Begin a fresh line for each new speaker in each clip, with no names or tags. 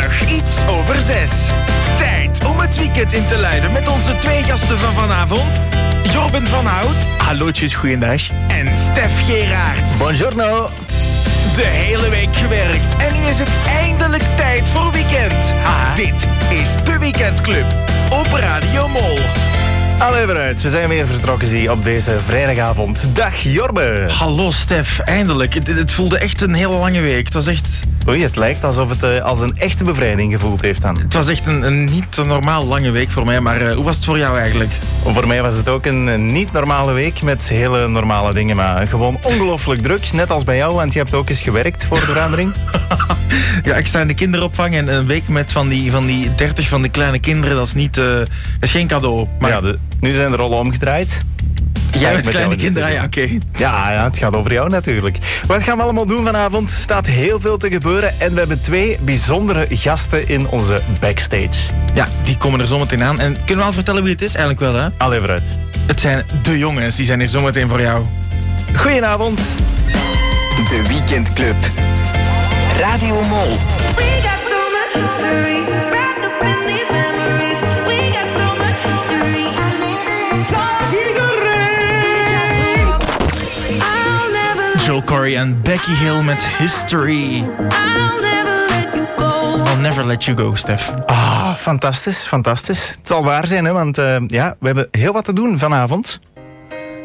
kwart over zes. Tijd om het weekend in te luiden met onze twee gasten van vanavond. Jorben van Hout. Hallootjes, goeiedag. En Stef Geraert.
Buongiorno.
De hele week gewerkt en nu is het eindelijk tijd voor weekend. Ha. Dit is de Weekendclub op Radio Mol.
Allee, vooruit. We zijn weer vertrokken zie, op deze vrijdagavond. Dag Jorbe.
Hallo Stef, eindelijk. Het, het voelde echt een hele lange week. Het was echt,
Oei, het lijkt alsof het eh, als een echte bevrijding gevoeld heeft dan.
het was echt een, een niet te normaal lange week voor mij, maar eh, hoe was het voor jou eigenlijk?
Voor mij was het ook een eh, niet normale week met hele normale dingen, maar gewoon ongelooflijk druk. Net als bij jou, want je hebt ook eens gewerkt voor de verandering.
Ja, ik sta in de kinderopvang en een week met van die, van die 30 van de kleine kinderen, dat is, niet, eh, dat is geen cadeau. Maar
Maar ja, de- nu zijn de rollen omgedraaid.
jij
met
met
jou
kleine
in de
kinderen, ah ja, oké.
studio. Ja, ja, het gaat over jou natuurlijk. Wat gaan we allemaal doen vanavond? Er staat heel veel te gebeuren en we hebben twee bijzondere gasten in onze backstage.
Ja, die komen er zometeen aan. En kunnen we al vertellen wie het is eigenlijk wel, hè?
Allee, vooruit.
Het zijn de jongens, die zijn hier zometeen voor jou.
Goedenavond.
De Weekendclub. Radio Mol.
We got so much history, wrapped up in these memories. We got so much history.
I'll never,
Joe Corey en Becky Hill met History.
I'll never let you go.
I'll never let you go, Stef.
Ah, fantastisch, fantastisch. Het zal waar zijn, hè, want eh, ja, we hebben heel wat te doen vanavond.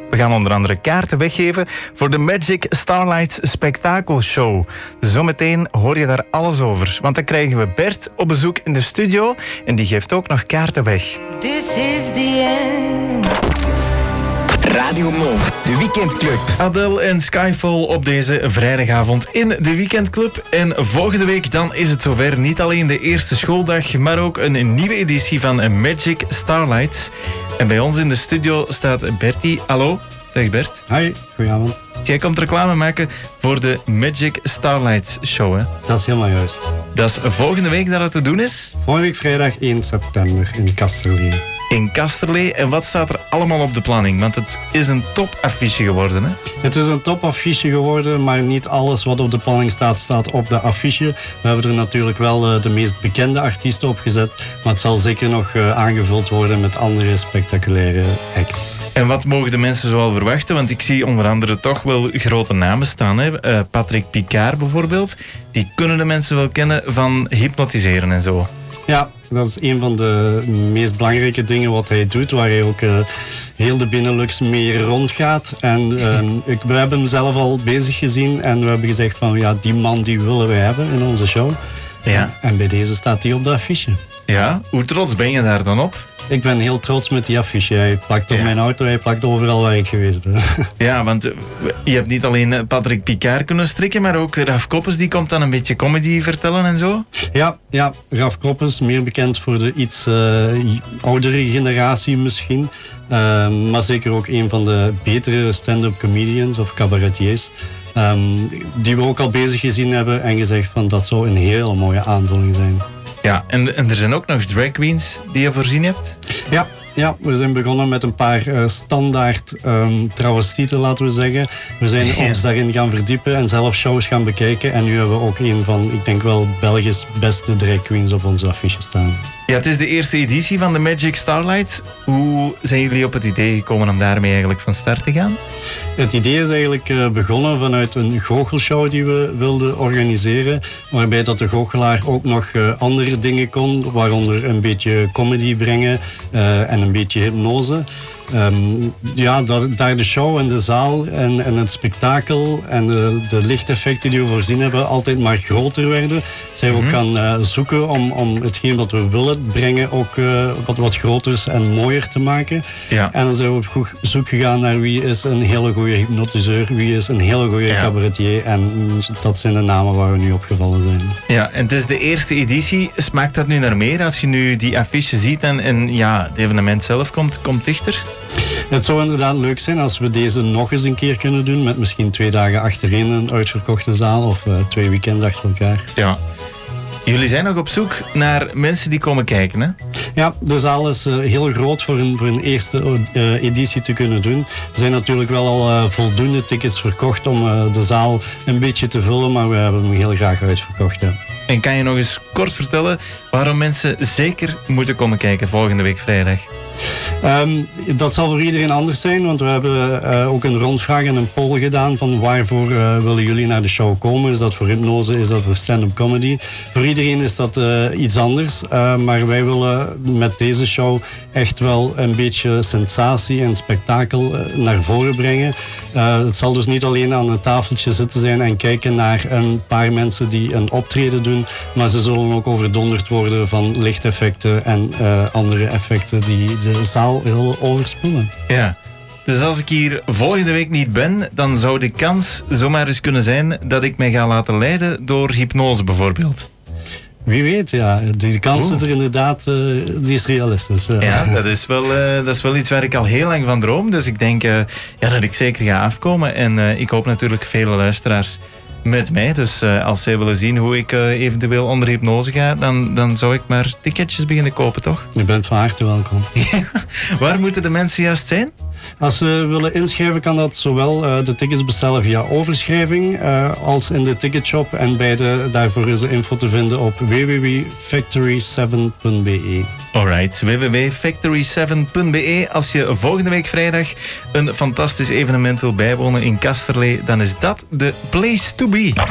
We gaan onder andere kaarten weggeven voor de Magic Starlight Spectacle Show. Zometeen hoor je daar alles over, want dan krijgen we Bert op bezoek in de studio en die geeft ook nog kaarten weg.
This is the end.
Radio Mol. De Weekendclub.
Adele en
Skyfall op deze vrijdagavond in de Weekendclub. En volgende week dan is het zover. Niet alleen de eerste schooldag, maar ook een nieuwe editie van Magic Starlights. En bij ons in de studio staat Bertie. Hallo, zeg Bert.
Hoi, goedenavond.
Jij komt reclame maken voor de Magic Starlights Show. Hè?
Dat is helemaal juist.
Dat is volgende week dat het te doen is
Volgende week vrijdag 1 september in Kasterlee.
in Kasterlee. En wat staat er allemaal op de planning? Want het is een topaffiche geworden. Hè?
Het is een topaffiche geworden, maar niet alles wat op de planning staat, staat op de affiche. We hebben er natuurlijk wel eh, de meest bekende artiesten op gezet, maar het zal zeker nog eh, aangevuld worden met andere spectaculaire acts.
En wat mogen de mensen zoal verwachten? Want ik zie onder andere toch wel grote namen staan. Hè? Eh, Patrick Picard bijvoorbeeld. Die kunnen de mensen wel kennen van hypnotiseren en zo.
Ja, dat is een van de meest belangrijke dingen wat hij doet, waar hij ook eh, heel de Benelux mee rondgaat. En ehm, ik, we hebben hem zelf al bezig gezien en we hebben gezegd van ja, die man die willen we hebben in onze show.
Ja.
En bij deze staat hij op de affiche.
Ja, hoe trots ben je daar dan op?
Ik ben heel trots met die affiche. Hij plakt op
Ja.
mijn auto, hij plakt overal waar ik geweest ben.
Ja, want eh, je hebt niet alleen eh, Patrick Picard kunnen strikken, maar ook Raf Koppes die komt dan een beetje comedy vertellen en zo.
ja, ja, Raf Kroppens, meer bekend voor de iets eh, oudere generatie misschien. Ehm, maar zeker ook een van de betere stand-up comedians of cabaretiers. ehm, die we ook al bezig gezien hebben en gezegd van dat zou een heel mooie aanvulling zijn.
Ja, en, en er zijn ook nog drag queens die je voorzien hebt.
Ja, ja, we zijn begonnen met een paar eh, standaard ehm travestieten, laten we zeggen. We zijn
Ja.
ons daarin gaan verdiepen en zelf shows gaan bekijken. En nu hebben we ook een van, ik denk wel, Belgisch beste drag queens op onze affiche staan.
Ja, het is de eerste editie van de Magic Starlight. Hoe zijn jullie op het idee gekomen om daarmee eigenlijk van start te gaan?
Het idee is eigenlijk eh, begonnen vanuit een goochelshow die we wilden organiseren. Waarbij dat de goochelaar ook nog eh, andere dingen kon. Waaronder een beetje comedy brengen eh, en een beetje hypnose. Ehm, ja, dat, daar de show en de zaal en, en het spektakel en de, de lichteffecten die we voorzien hebben altijd maar groter werden. Zijn we ook gaan eh, zoeken om, om hetgeen wat we willen brengen ook eh, wat, wat groter en mooier te maken.
Ja.
En dan zijn we op goe- zoek gegaan naar wie is een hele goede hypnotiseur, wie is een hele goede
Ja.
cabaretier. En mm, dat zijn de namen waar we nu opgevallen zijn.
Ja, en het is de eerste editie. Smaakt dat nu naar meer als je nu die affiche ziet en, en ja, het evenement zelf komt, komt dichter?
Het zou inderdaad leuk zijn als we deze nog eens een keer kunnen doen. Met misschien twee dagen achtereen een uitverkochte zaal of eh, twee weekenden achter elkaar.
Ja. Jullie zijn nog op zoek naar mensen die komen kijken, hè?
Ja, de zaal is eh, heel groot voor een, voor een eerste eh, editie te kunnen doen. Er zijn natuurlijk wel al eh, voldoende tickets verkocht om eh, de zaal een beetje te vullen. Maar we hebben hem heel graag uitverkocht. Ja.
En kan je nog eens kort vertellen waarom mensen zeker moeten komen kijken volgende week vrijdag?
Ehm, dat zal voor iedereen anders zijn, want we hebben eh, ook een rondvraag en een poll gedaan van waarvoor eh, willen jullie naar de show komen. Is dat voor hypnose, is dat voor stand-up comedy? Voor iedereen is dat eh, iets anders, eh, maar wij willen met deze show echt wel een beetje sensatie en spektakel eh, naar voren brengen. Eh, het zal dus niet alleen aan een tafeltje zitten zijn en kijken naar een paar mensen die een optreden doen, maar ze zullen ook overdonderd worden van lichteffecten en eh, andere effecten die de zaal heel overspoelen.
Ja. Dus als ik hier volgende week niet ben, dan zou de kans zomaar eens kunnen zijn dat ik mij ga laten leiden door hypnose bijvoorbeeld.
Wie weet, ja. Die kans zit er inderdaad, eh, die is realistisch. ja.
Ja, dat is, wel, eh, dat is wel iets waar ik al heel lang van droom. Dus ik denk eh, ja, dat ik zeker ga afkomen. En eh, ik hoop natuurlijk vele luisteraars met mij. Dus eh, als zij willen zien hoe ik eh, eventueel onder hypnose ga, dan, dan zou ik maar ticketjes beginnen kopen, toch?
Je bent van harte welkom.
Waar moeten de mensen juist zijn?
Als ze willen inschrijven, kan dat zowel eh, de tickets bestellen via overschrijving eh, als in de ticketshop. En beide, daarvoor is de info te vinden op www.factory7.be.
Alright, www.factory7.be. Als je volgende week vrijdag een fantastisch evenement wil bijwonen in Kasterlee, dan is dat de place to be.
De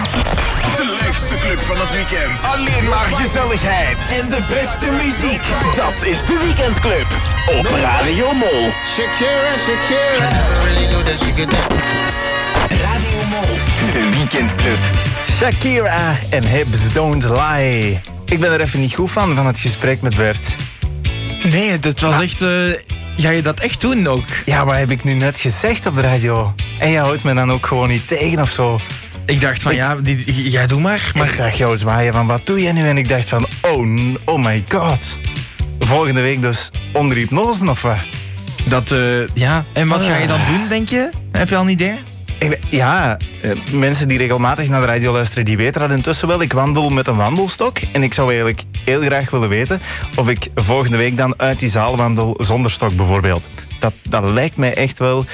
leukste club van het weekend. Alleen maar gezelligheid.
En de beste muziek. Dat is de weekendclub op Radio Mol.
Shakira, Shakira. Really know that she could dance.
Radio Mol. De weekendclub.
Shakira en Hips Don't Lie. Ik ben er even niet goed van, van het gesprek met Bert.
Nee, dat
Ah.
was echt... eh, ga je dat echt doen ook?
Ja, wat heb ik nu net gezegd op de radio? En jij houdt me dan ook gewoon niet tegen of zo.
Ik dacht van, ja, die, ja, doe maar.
Maar ik zag jou zwaaien van, wat doe jij nu? En ik dacht van, oh, n- oh my god. Volgende week dus onder hypnose of wat?
Dat, eh, ja. En wat ga je dan doen, denk je? Heb je al een idee?
Ik ben- ja, eh, mensen die regelmatig naar de radio luisteren, die weten dat intussen wel. Ik wandel met een wandelstok en ik zou eigenlijk heel graag willen weten of ik volgende week dan uit die zaal wandel zonder stok bijvoorbeeld. Dat, dat lijkt mij echt wel...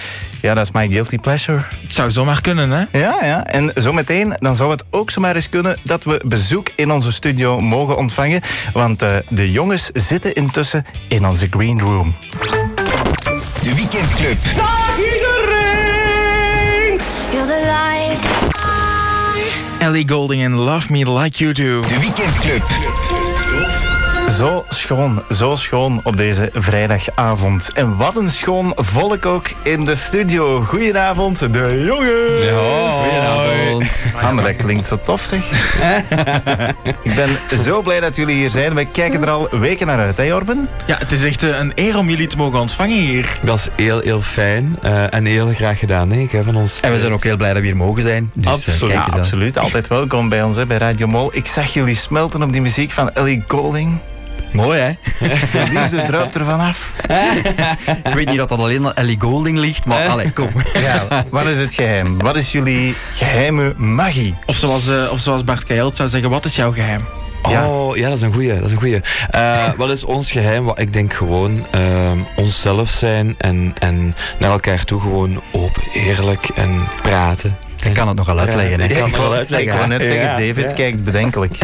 Ja, dat is mijn guilty pleasure.
Het zou zomaar kunnen, hè?
Ja, ja. En zometeen dan zou het ook zomaar eens kunnen dat we bezoek in onze studio mogen ontvangen. Want eh, de jongens zitten intussen in onze green room.
De weekendclub.
You're the light.
Ellie Golding en Love Me Like You Do.
De weekendclub.
Zo schoon, zo schoon op deze vrijdagavond. En wat een schoon volk ook in de studio. Goedenavond, de jongens. Hanne, dat klinkt zo tof zeg. Ik ben zo blij dat jullie hier zijn. We kijken er al weken naar uit, hè Jorben?
Ja, het is echt eh, een eer om jullie te mogen ontvangen hier.
Dat is heel, heel fijn eh, en heel graag gedaan, denk ik, hè, van ons.
En we zijn ook heel blij dat we hier mogen zijn. Dus, eh,
Absoluut.
kijk
Ja,
eens aan.
absoluut. Altijd welkom bij ons hè, bij Radio Mol. Ik zag jullie smelten op die muziek van Ellie Golding.
Mooi, hè?
De liefde druipt er vanaf.
Ik weet niet dat dat alleen aan Ellie Golding ligt, maar allee, kom.
Ja, wat is het geheim? Wat is jullie geheime magie?
Of zoals, eh, of zoals Bart Keijelt zou zeggen, wat is jouw geheim?
Ja.
Oh, ja, dat is een goeie. Dat is een goeie. Eh, wat is ons geheim? Wat, ik denk gewoon ehm, onszelf zijn en, en naar elkaar toe gewoon open, eerlijk en praten.
Ik kan het nogal uitleggen, hè?
Ja,
Ik wou, ik wou
hè.
net zeggen,
Ja,
David
ja.
kijkt bedenkelijk.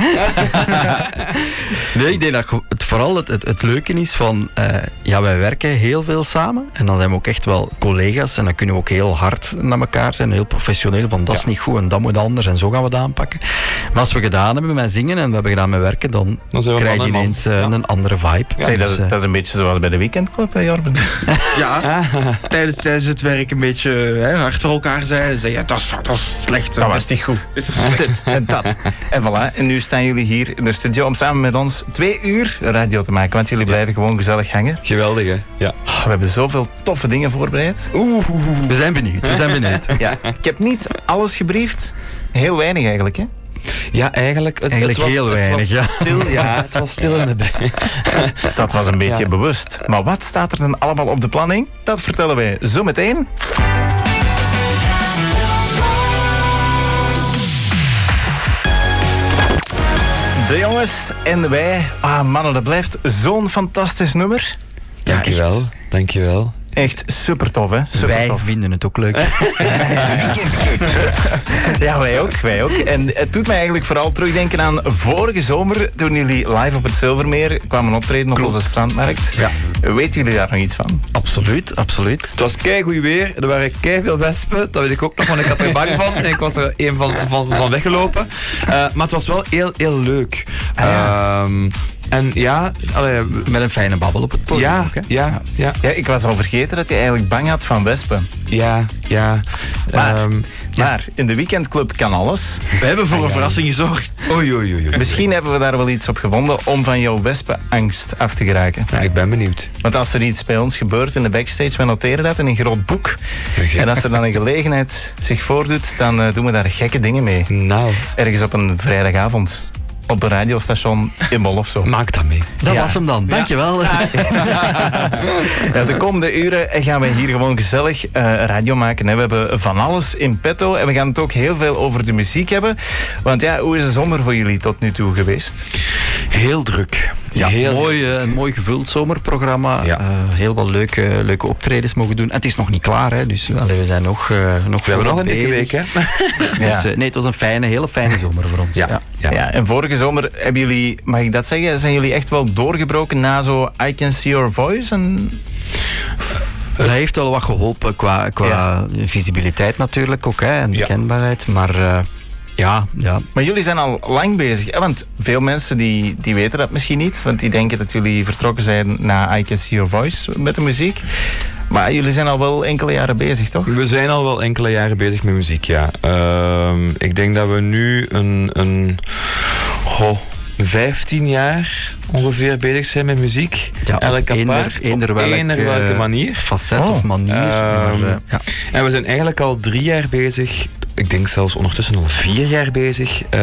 Nee, ik denk dat ge- het vooral het, het, het leuke is van... eh, ja, wij werken heel veel samen. En dan zijn we ook echt wel collega's. En dan kunnen we ook heel hard naar elkaar zijn. Heel professioneel. Van dat is niet goed en dat moet anders. En zo gaan we het aanpakken. Maar als we gedaan hebben met zingen en we hebben gedaan met werken... Dan,
Dan zijn we
krijg je
man en man.
ineens eh,
Ja.
een andere vibe.
Zeg,
Dus,
dat,
eh,
dat is een beetje zoals bij de weekendclub, hè, Jorben?
Ja,
Ah.
tijdens, tijdens het werk een beetje eh, hè, hard voor elkaar zijn. En zeggen, ja, dat, is, dat is slecht.
Dat was niet goed.
Dit is slecht.
Dit en dat. En voilà, en nu staan jullie hier in de studio om samen met ons twee uur radio te maken. Want jullie blijven gewoon gezellig hangen.
Geweldig, hè? Ja.
Oh, we hebben zoveel toffe dingen voorbereid.
we zijn benieuwd, we zijn benieuwd.
Ja, ik heb niet alles gebriefd. Heel weinig eigenlijk, hè?
Ja, eigenlijk... Het,
Eigenlijk
het was,
heel
het
weinig,
was
ja.
Stil, ja, het was stil in de bij.
Dat was een beetje
Ja.
bewust. Maar wat staat er dan allemaal op de planning? Dat vertellen wij zo meteen. De jongens en wij. Ah, mannen, dat blijft zo'n fantastisch nummer.
Dankjewel, dankjewel.
Echt super tof, hè? Super
wij
tof.
vinden het ook leuk.
Ja, wij ook, wij ook. En het doet mij eigenlijk vooral terugdenken aan vorige zomer, toen jullie live op het Zilvermeer kwamen optreden op onze strandmarkt. Weten jullie daar nog iets van?
Absoluut, absoluut.
Het was keigoed weer, er waren kei veel wespen, dat weet ik ook nog, want ik had er bang van en ik was er een van, van, van weggelopen. Eh, maar het was wel heel, heel leuk.
Eh,
Ehm, en ja,
met een fijne babbel op het podium.
Ja, ja, ja.
Ja, ik was al vergeten dat je eigenlijk bang had van wespen.
Ja, ja.
Maar, maar in de weekendclub kan alles.
We hebben
Ah,
voor een verrassing gezorgd.
Oei, oei, oei. oei.
Misschien hebben we daar wel iets op gevonden om van jouw wespenangst af te geraken.
Ja, ik ben benieuwd.
Want als er iets bij ons gebeurt in de backstage, we noteren dat in een groot boek. En als er dan een gelegenheid zich voordoet, dan eh, doen we daar gekke dingen mee.
Nou,
Ergens op een vrijdagavond. Op een radiostation in Bol of zo.
maak dat mee.
Dat
Ja.
was hem dan. Dankjewel.
Ja, de komende uren eh, gaan wij hier gewoon gezellig eh, radio maken. Hè. We hebben van alles in petto. En we gaan het ook heel veel over de muziek hebben. Want ja, hoe is de zomer voor jullie tot nu toe geweest?
Heel druk.
Ja,
heel
mooi, eh, een mooi gevuld zomerprogramma.
Ja.
Eh, heel wat leuke, leuke optredens mogen doen. En het is nog niet klaar, hè, dus allee, we zijn nog, eh, nog
We hebben nog een dikke week,
bezig.
hè?
Dus, eh, nee, het was een fijne, hele fijne zomer voor ons.
Ja.
Ja. en vorige zomer hebben jullie, mag ik dat zeggen, zijn jullie echt wel doorgebroken na zo I Can See Your Voice? En...
Dat heeft wel wat geholpen qua, qua visibiliteit natuurlijk ook hè, en
Ja.
bekendbaarheid. Maar eh, ja, ja,
Maar jullie zijn al lang bezig, hè? want veel mensen die, die weten dat misschien niet, want die denken dat jullie vertrokken zijn na I Can See Your Voice met de muziek. Maar jullie zijn al wel enkele jaren bezig, toch?
We zijn al wel enkele jaren bezig met muziek, ja. Ehm, ik denk dat we nu een, een goh, 15 jaar ongeveer bezig zijn met muziek.
ja op
Elk
eender-
apart, op
eender welk,
eender welke
eh,
manier.
Facet
Oh.
of manier. maar,
Ehm,
eh, ja.
En we zijn eigenlijk al drie jaar bezig, ik denk zelfs ondertussen al vier jaar bezig, eh,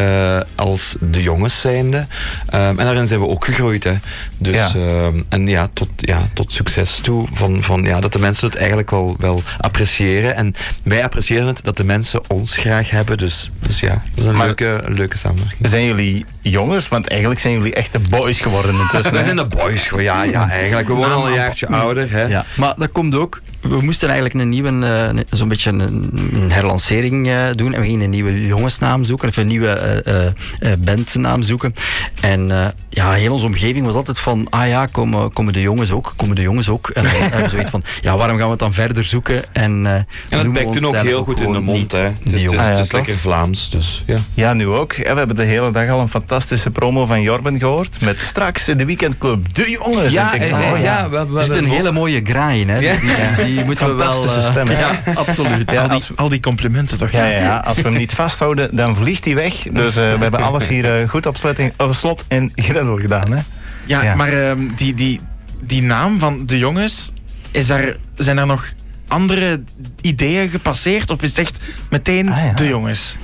als de jongens zijnde. Ehm, en daarin zijn we ook gegroeid. Hè. Dus,
Ja.
ehm, en ja tot, ja, tot succes toe. Van, van, ja, dat de mensen het eigenlijk wel, wel appreciëren. En wij appreciëren het dat de mensen ons graag hebben. Dus, dus ja, dat is een
Maar-
leuke, leuke samenwerking.
Zijn jullie jongens? Want eigenlijk zijn jullie echte boys geworden intussen.
Wij
hè?
zijn de boys, gewoon. ja, ja, eigenlijk. We worden al een jaartje ouder. Hè.
Ja, maar dat komt ook. We moesten eigenlijk een nieuwe, eh, een- zo'n beetje een, een herlancering eh, doen. En we gingen een nieuwe jongensnaam zoeken, of een nieuwe eh, eh, eh, bandnaam zoeken. En eh, ja, heel onze omgeving was altijd van, ah ja, komen, komen de jongens ook, komen de jongens ook. En dan hebben we zoiets van, ja, waarom gaan we het dan verder zoeken? En, eh,
En
noemen
dat
we
blijkt
ons
toen ook
eigenlijk
heel goed in de
gewoon
mond.
niet
Hè. Dus Het is, het is-
jongens.
Ah, ja,
het is
toch?
lekker Vlaams, dus ja.
Ja, nu ook. hè. We hebben de hele dag al een fantastische promo van Jorben gehoord. Met straks in de weekendclub De Jongens.
Ja,
En ik
eh,
denk van,
eh,
oh,
ja, we- we-
Er zit een
we-
hele mooie graai in, hè. Die, die, die moeten we wel...
Fantastische
eh,
stem, hè?
Ja, absoluut.
Ja,
al, die,
als-
al die complimenten toch?
Ja, ja, ja, als we hem niet vasthouden, dan vliegt hij weg. Dus eh, we hebben alles hier eh, goed op slotting- op slot en grendel gedaan. Hè?
Ja,
Ja.
maar ehm, die, die, die naam van de jongens, is daar, zijn daar nog andere ideeën gepasseerd? Of is het echt meteen
Ah, ja.
de jongens?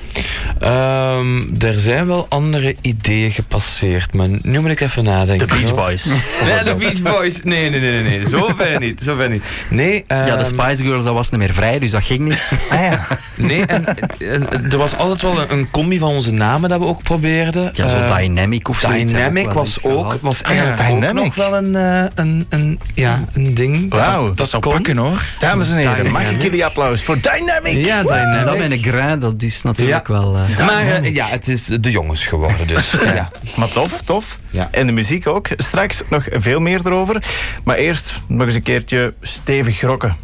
Ehm, er zijn wel andere ideeën gepasseerd, maar nu moet ik even nadenken. hoor.
Boys.
Nee, de Beach Boys. Nee, nee, nee, nee, nee. Zo ver niet, zo ver niet. Nee, ehm,
Ja, de Spice Girls, dat was niet meer vrij, dus dat ging niet.
Ah, ja.
nee en, eh, er was altijd wel een, een combi van onze namen dat we ook probeerden.
Ja, zo
Eh,
Dynamic of zo.
Dynamic was ook, was
Ah,
eigenlijk ook
Dynamic.
nog wel een, eh, een, een, ja, een ding.
Wauw.
Dat zou
kon.
pakken hoor.
Dames en heren, mag ik
Dynamic.
jullie applaus voor Dynamic?
Ja,
En dat ben
Dynamic.
ik graag, dat is natuurlijk
Ja.
wel... eh,
Maar eh, ja, het is de jongens geworden, dus ja.
Maar tof, tof.
Ja.
En de muziek ook. Straks nog veel meer erover. Maar eerst nog eens een keertje stevig rocken.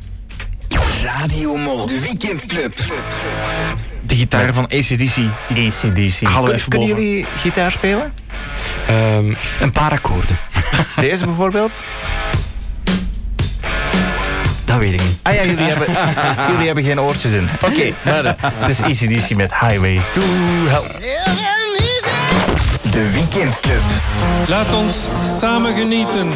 Radio Mol, de weekendclub.
De gitaar van ACDC. Die
ACDC.
Halen we
Kun-
even
Kunnen
boven.
jullie gitaar spelen?
Ehm,
Een paar akkoorden.
Deze bijvoorbeeld?
Dat weet ik niet.
Ah ja, jullie hebben, jullie hebben geen oortjes in. Oké, maar eh, het is ACDC met Highway to Hell.
De weekendclub.
Laat ons samen genieten.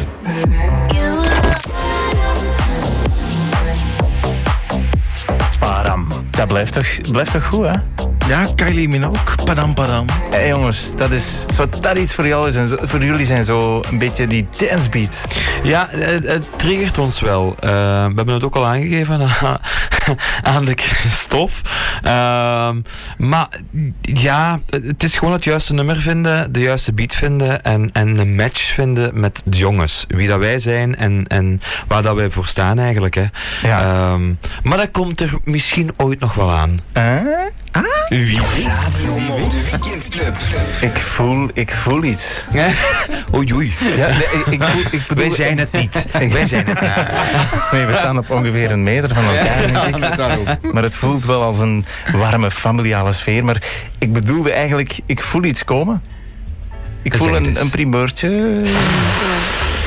Param. Dat blijft toch, blijft toch goed, hè?
Ja, Kylie Minogue. Padam, padam.
Hé jongens, dat is, zou dat iets voor, jou zijn, Zo- voor jullie zijn? Zo een beetje die dancebeat.
Ja, het, het triggert ons wel. Eh, we hebben het ook al aangegeven aan, aan de stof. maar ja, het is gewoon het juiste nummer vinden, de juiste beat vinden en, en een match vinden met de jongens. Wie dat wij zijn en, en waar dat wij voor staan eigenlijk. Hè. Ehm, maar dat komt er misschien ooit nog wel aan. Wie weet.
Radio Mol, de weekendclub.
Ik voel, ik voel iets.
Oei, oei.
Ja, nee, ik, ik, voel- ik bedoel,
Wij zijn het niet.
Ik-
Wij zijn het niet.
Nee, we staan op ongeveer een meter van elkaar. denk ik. Maar het voelt wel als een warme familiale sfeer. Maar ik bedoelde eigenlijk, ik voel iets komen. Ik
Zeg
voel
het
een,
eens.
een primeurtje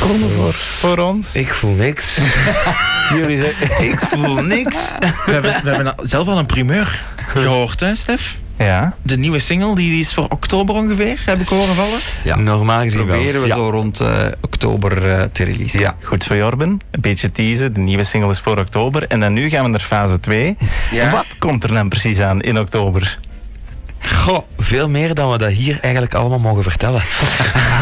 komen voor, voor ons.
Ik voel niks.
Jullie zeggen,
ik voel niks.
We hebben, we hebben al- zelf al een primeur gehoord, hè, Stef?
Ja.
De nieuwe single die die is voor oktober ongeveer, heb ik horen vallen.
Ja. Normaal gezien wel.
Proberen we
Ja.
zo rond eh, oktober eh, te releasen.
Ja.
Goed voor Jorben, een beetje teasen. De nieuwe single is voor oktober. En dan nu gaan we naar fase 2. Wat komt er dan precies aan in oktober?
Goh, veel meer dan we dat hier eigenlijk allemaal mogen vertellen.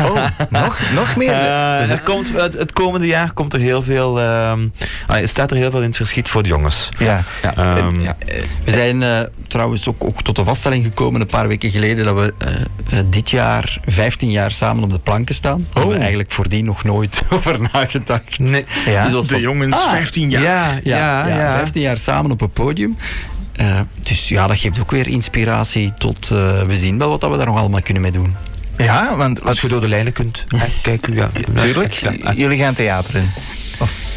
Oh, nog, nog meer?
Eh,
Dus
er komt, het, het komende jaar komt er heel veel, ehm, ah, staat er heel veel in het verschiet voor de jongens.
ja.
Ehm,
Ja. We zijn eh, trouwens ook, ook tot de vaststelling gekomen een paar weken geleden dat we eh, eh, dit jaar 15 jaar samen op de planken staan. Daar hebben we eigenlijk voordien nog nooit over nagedacht.
Nee.
Ja.
Dus dat was
De
van-
jongens,
Ah,
15
Ja,
jaar.
ja, ja.
ja, 15 jaar samen op een podium. Eh, dus ja, dat geeft ook weer inspiratie tot eh, we zien wel wat dat we daar nog allemaal kunnen mee doen.
ja, want
Als je
wat-
door de lijnen kunt. eh, Kijk, ja.
tuurlijk, jullie gaan theater in.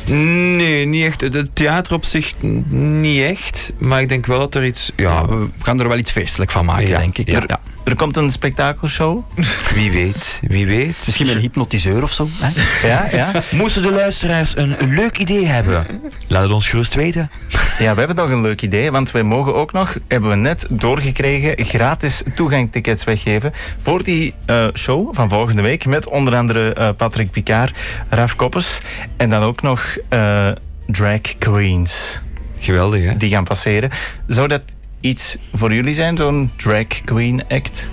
Nee, niet echt. Het- Het theater op zich n- niet echt. Maar ik denk wel dat er iets. Ja,
Ja, we gaan er wel iets feestelijk van maken,
Ja,
denk ik.
ja.
Ja.
Er komt een spektakelshow.
wie weet. Wie weet.
Misschien met een hypnotiseur of zo. Hè?
Ja, ja.
Moesten de luisteraars een, een leuk idee hebben? Laat het ons gerust weten.
Ja, we hebben nog een leuk idee, want wij mogen ook nog, hebben we net doorgekregen, gratis toegangtickets weggeven voor die eh, show van volgende week met onder andere eh, Patrick Picard, Raf Koppers en dan ook nog eh, drag queens
Geweldig, hè?
die gaan passeren. Zou dat iets voor jullie zijn, zo'n drag queen act?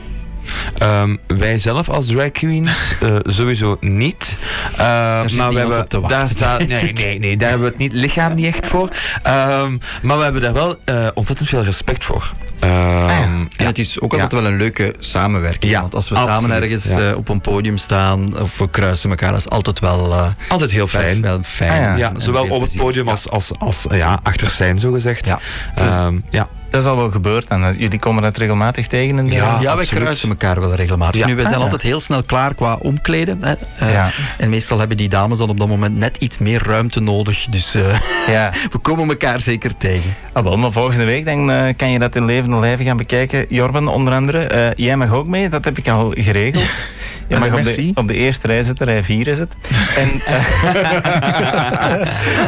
Ehm, wij zelf als drag queens eh, sowieso niet. Eh, maar
niemand
we hebben,
op te wachten.
daar staat, nee, nee, nee, daar hebben we het niet, lichaam niet echt voor. Ehm, maar we hebben daar wel eh, ontzettend veel respect voor. Ehm,
En
ja.
het is ook altijd wel een leuke samenwerking.
Ja,
want als we samen
absoluut,
ergens
ja.
eh, op een podium staan of we kruisen elkaar, dat is altijd wel, eh,
altijd heel fijn.
wel fijn.
Ah, ja.
Ja,
En
zowel
veel
op het
plezier.
podium als, als, als eh, ja, achter zijn, zo gezegd.
Ja.
Ehm, ja.
Dat is al wel gebeurd en eh, jullie komen dat regelmatig tegen in de
Ja.
Ja, wij
absoluut.
kruisen elkaar wel regelmatig.
Ja.
Nu, wij
Ah,
zijn
ja.
altijd heel snel klaar qua omkleden. Hè. Eh,
Ja.
En meestal hebben die dames dan op dat moment net iets meer ruimte nodig. Dus eh,
Ja.
we komen elkaar zeker tegen.
Ah, wel, maar volgende week dan, eh, kan je dat in levende lijven gaan bekijken. Jorben, onder andere, eh, jij mag ook mee, dat heb ik al geregeld. Jij mag op de,
merci.
op de eerste rij zitten, rij 4 is het. En eh,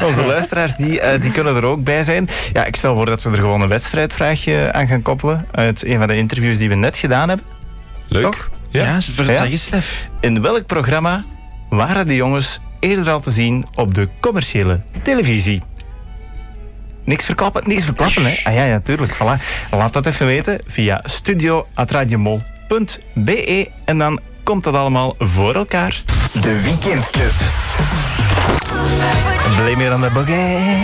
onze luisteraars die, eh, die kunnen er ook bij zijn. Ja, ik stel voor dat we er gewoon een wedstrijdvraagje aan gaan koppelen. Uit een van de interviews die we net gedaan hebben.
Leuk.
Toch?
Ja.
Ja, ze
Ja.
zeg eens, Stef.
In welk programma waren de jongens eerder al te zien op de commerciële televisie? Niks verklappen, niks verklappen, hè? Ah ja, ja, tuurlijk. Voilà. Laat dat even weten via studio.radiomol.be en dan komt dat allemaal voor elkaar.
De weekendclub.
Blij meer aan de bogey.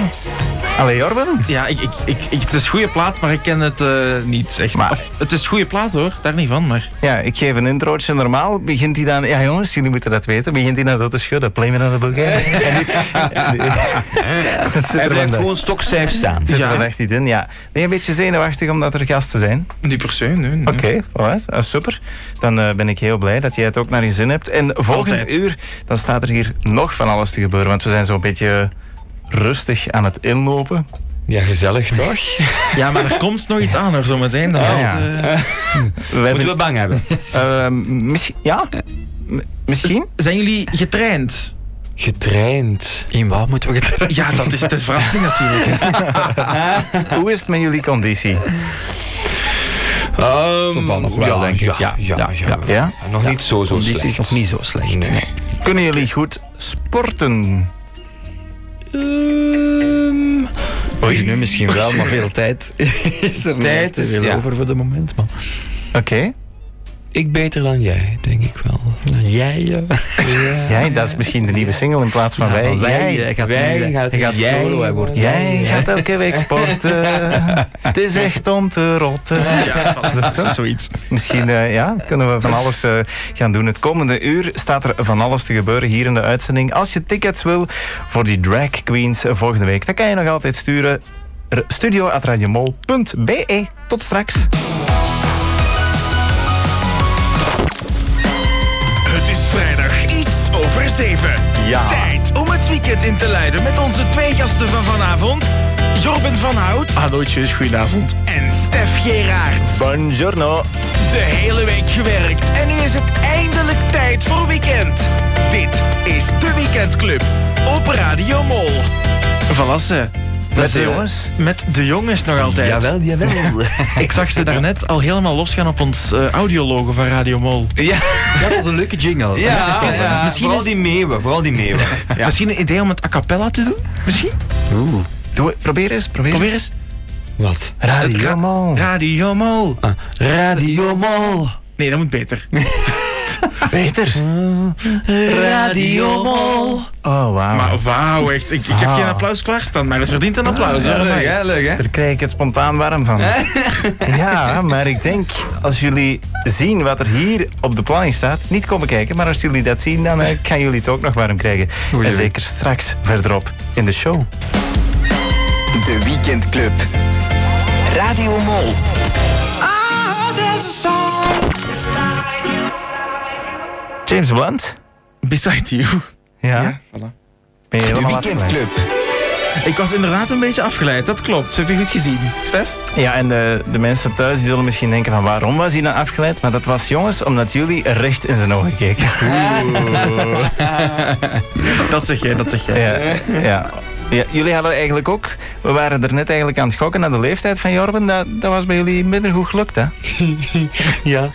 Allee, Jorben.
Ja, ik, ik, ik, ik- het is goede plaat, maar ik ken het eh, niet echt.
Maar-
Of, het is goede plaat hoor, daar niet van, maar...
Ja, ik geef een introotje. Normaal begint hij dan... Ja, jongens, jullie moeten dat weten. Begint hij dan zo te schudden. Play me aan de bogey. En nu- en nu- Dat zit er
Hij blijft
vandaag.
gewoon stokstijf staan.
Zit er
Ja.
dan echt niet in, ja. Ben je een beetje zenuwachtig omdat er gasten zijn?
Niet per se, nee. nee.
Oké, voilà, dat is super. Dan eh, ben ik heel blij dat jij het ook naar je zin hebt. En volgend
Altijd.
uur, dan staat er hier nog van alles te gebeuren. Want we zijn zo'n beetje rustig aan het inlopen.
Ja, gezellig toch?
Ja, maar er komt nog iets aan hoor, zometeen. Dat is
Ah,
altijd,
ja.
eh,
We hebben,
Moeten we bang hebben?
eh, misschien... Ja? M- misschien?
Zijn jullie getraind?
Getraind.
In wat moeten we getrouwen?
Ja, dat is de verrassing natuurlijk.
Hoe is het met jullie conditie?
Um,
Wel nog wel,
ja,
denk ik.
Ja, ja, ja,
Ja?
Nog niet zo, zo
Die is
slecht.
nog niet zo slecht.
Nee.
nee.
Kunnen jullie goed sporten?
Ehm,
Oei. Nu misschien wel, maar veel tijd is er
Tijd
niet
is-
veel
ja.
over voor de moment, man.
Oké.
Ik beter dan jij, denk ik wel. Jij, ja.
Eh,
Jij, dat is misschien de nieuwe single in plaats van
Ja,
wij.
maar wij,
Jij,
eh,
jij gaat
Wij
nu-
gaat,
hij gaat
jij,
solo, hij wordt-
jij
Ja.
gaat elke week sporten. Het is echt om te rotten.
dat is zoiets.
Misschien eh, ja, kunnen we van alles eh, gaan doen. Het komende uur staat er van alles te gebeuren hier in de uitzending. Als je tickets wil voor die drag queens eh, volgende week, dan kan je nog altijd sturen. r- studio.radiomol.be. Tot straks.
Het is vrijdag iets over zeven.
Ja.
Tijd om het weekend in te leiden met onze twee gasten van vanavond. Jorben van Hout.
Ah,
Hallo, tjus, goedenavond. En Stef Geraert.
Buongiorno.
De hele week gewerkt en nu is het eindelijk tijd voor weekend. Dit is de Weekendclub op Radio Mol.
Valassen.
Met de jongens?
eh, Met de jongens nog altijd.
Jawel, jawel.
Ik zag ze daarnet al helemaal losgaan op ons eh, audiologo van Radio Mol.
Ja,
dat was een leuke jingle.
Ja, ja,
Misschien
vooral
is-
die meeuwen, vooral die meeuwen.
Misschien een idee om het a cappella te doen? Misschien?
Oeh.
Doe, probeer eens, probeer,
Probeer eens.
Wat?
Radio Mol.
Radio Mol.
Ah. Radio Mol.
Nee, dat moet beter.
Ah.
Beter.
Mm.
Radio Mol.
Oh, wauw.
Maar Ah, wauw, echt. Ik, ik heb geen applaus klaarstaan, maar het verdient een applaus. hoor.
Ah. Leuk hè, leuk hè.
Daar krijg ik het spontaan warm van. Ja, maar ik denk, als jullie zien wat er hier op de planning staat, niet komen kijken, maar als jullie dat zien, dan eh, gaan jullie het ook nog warm krijgen. en zeker straks verderop in de show.
De Weekendclub. Radio Mol.
James Blunt?
Beside you.
Ja?
voilà.
Ben je
De
helemaal
Weekendclub.
Ik was inderdaad een beetje afgeleid, dat klopt. Heb je goed gezien, Stef?
afgeleid? Ja, en de, de mensen thuis die zullen misschien denken van waarom was hij dan afgeleid? Maar dat was jongens, omdat jullie recht in zijn ogen keken.
Dat zeg jij, dat zeg jij.
Ja, ja. ja. Jullie hadden eigenlijk ook, we waren er net eigenlijk aan het schokken naar de leeftijd van Jorben, dat, dat was bij jullie minder goed gelukt hè?
Ja.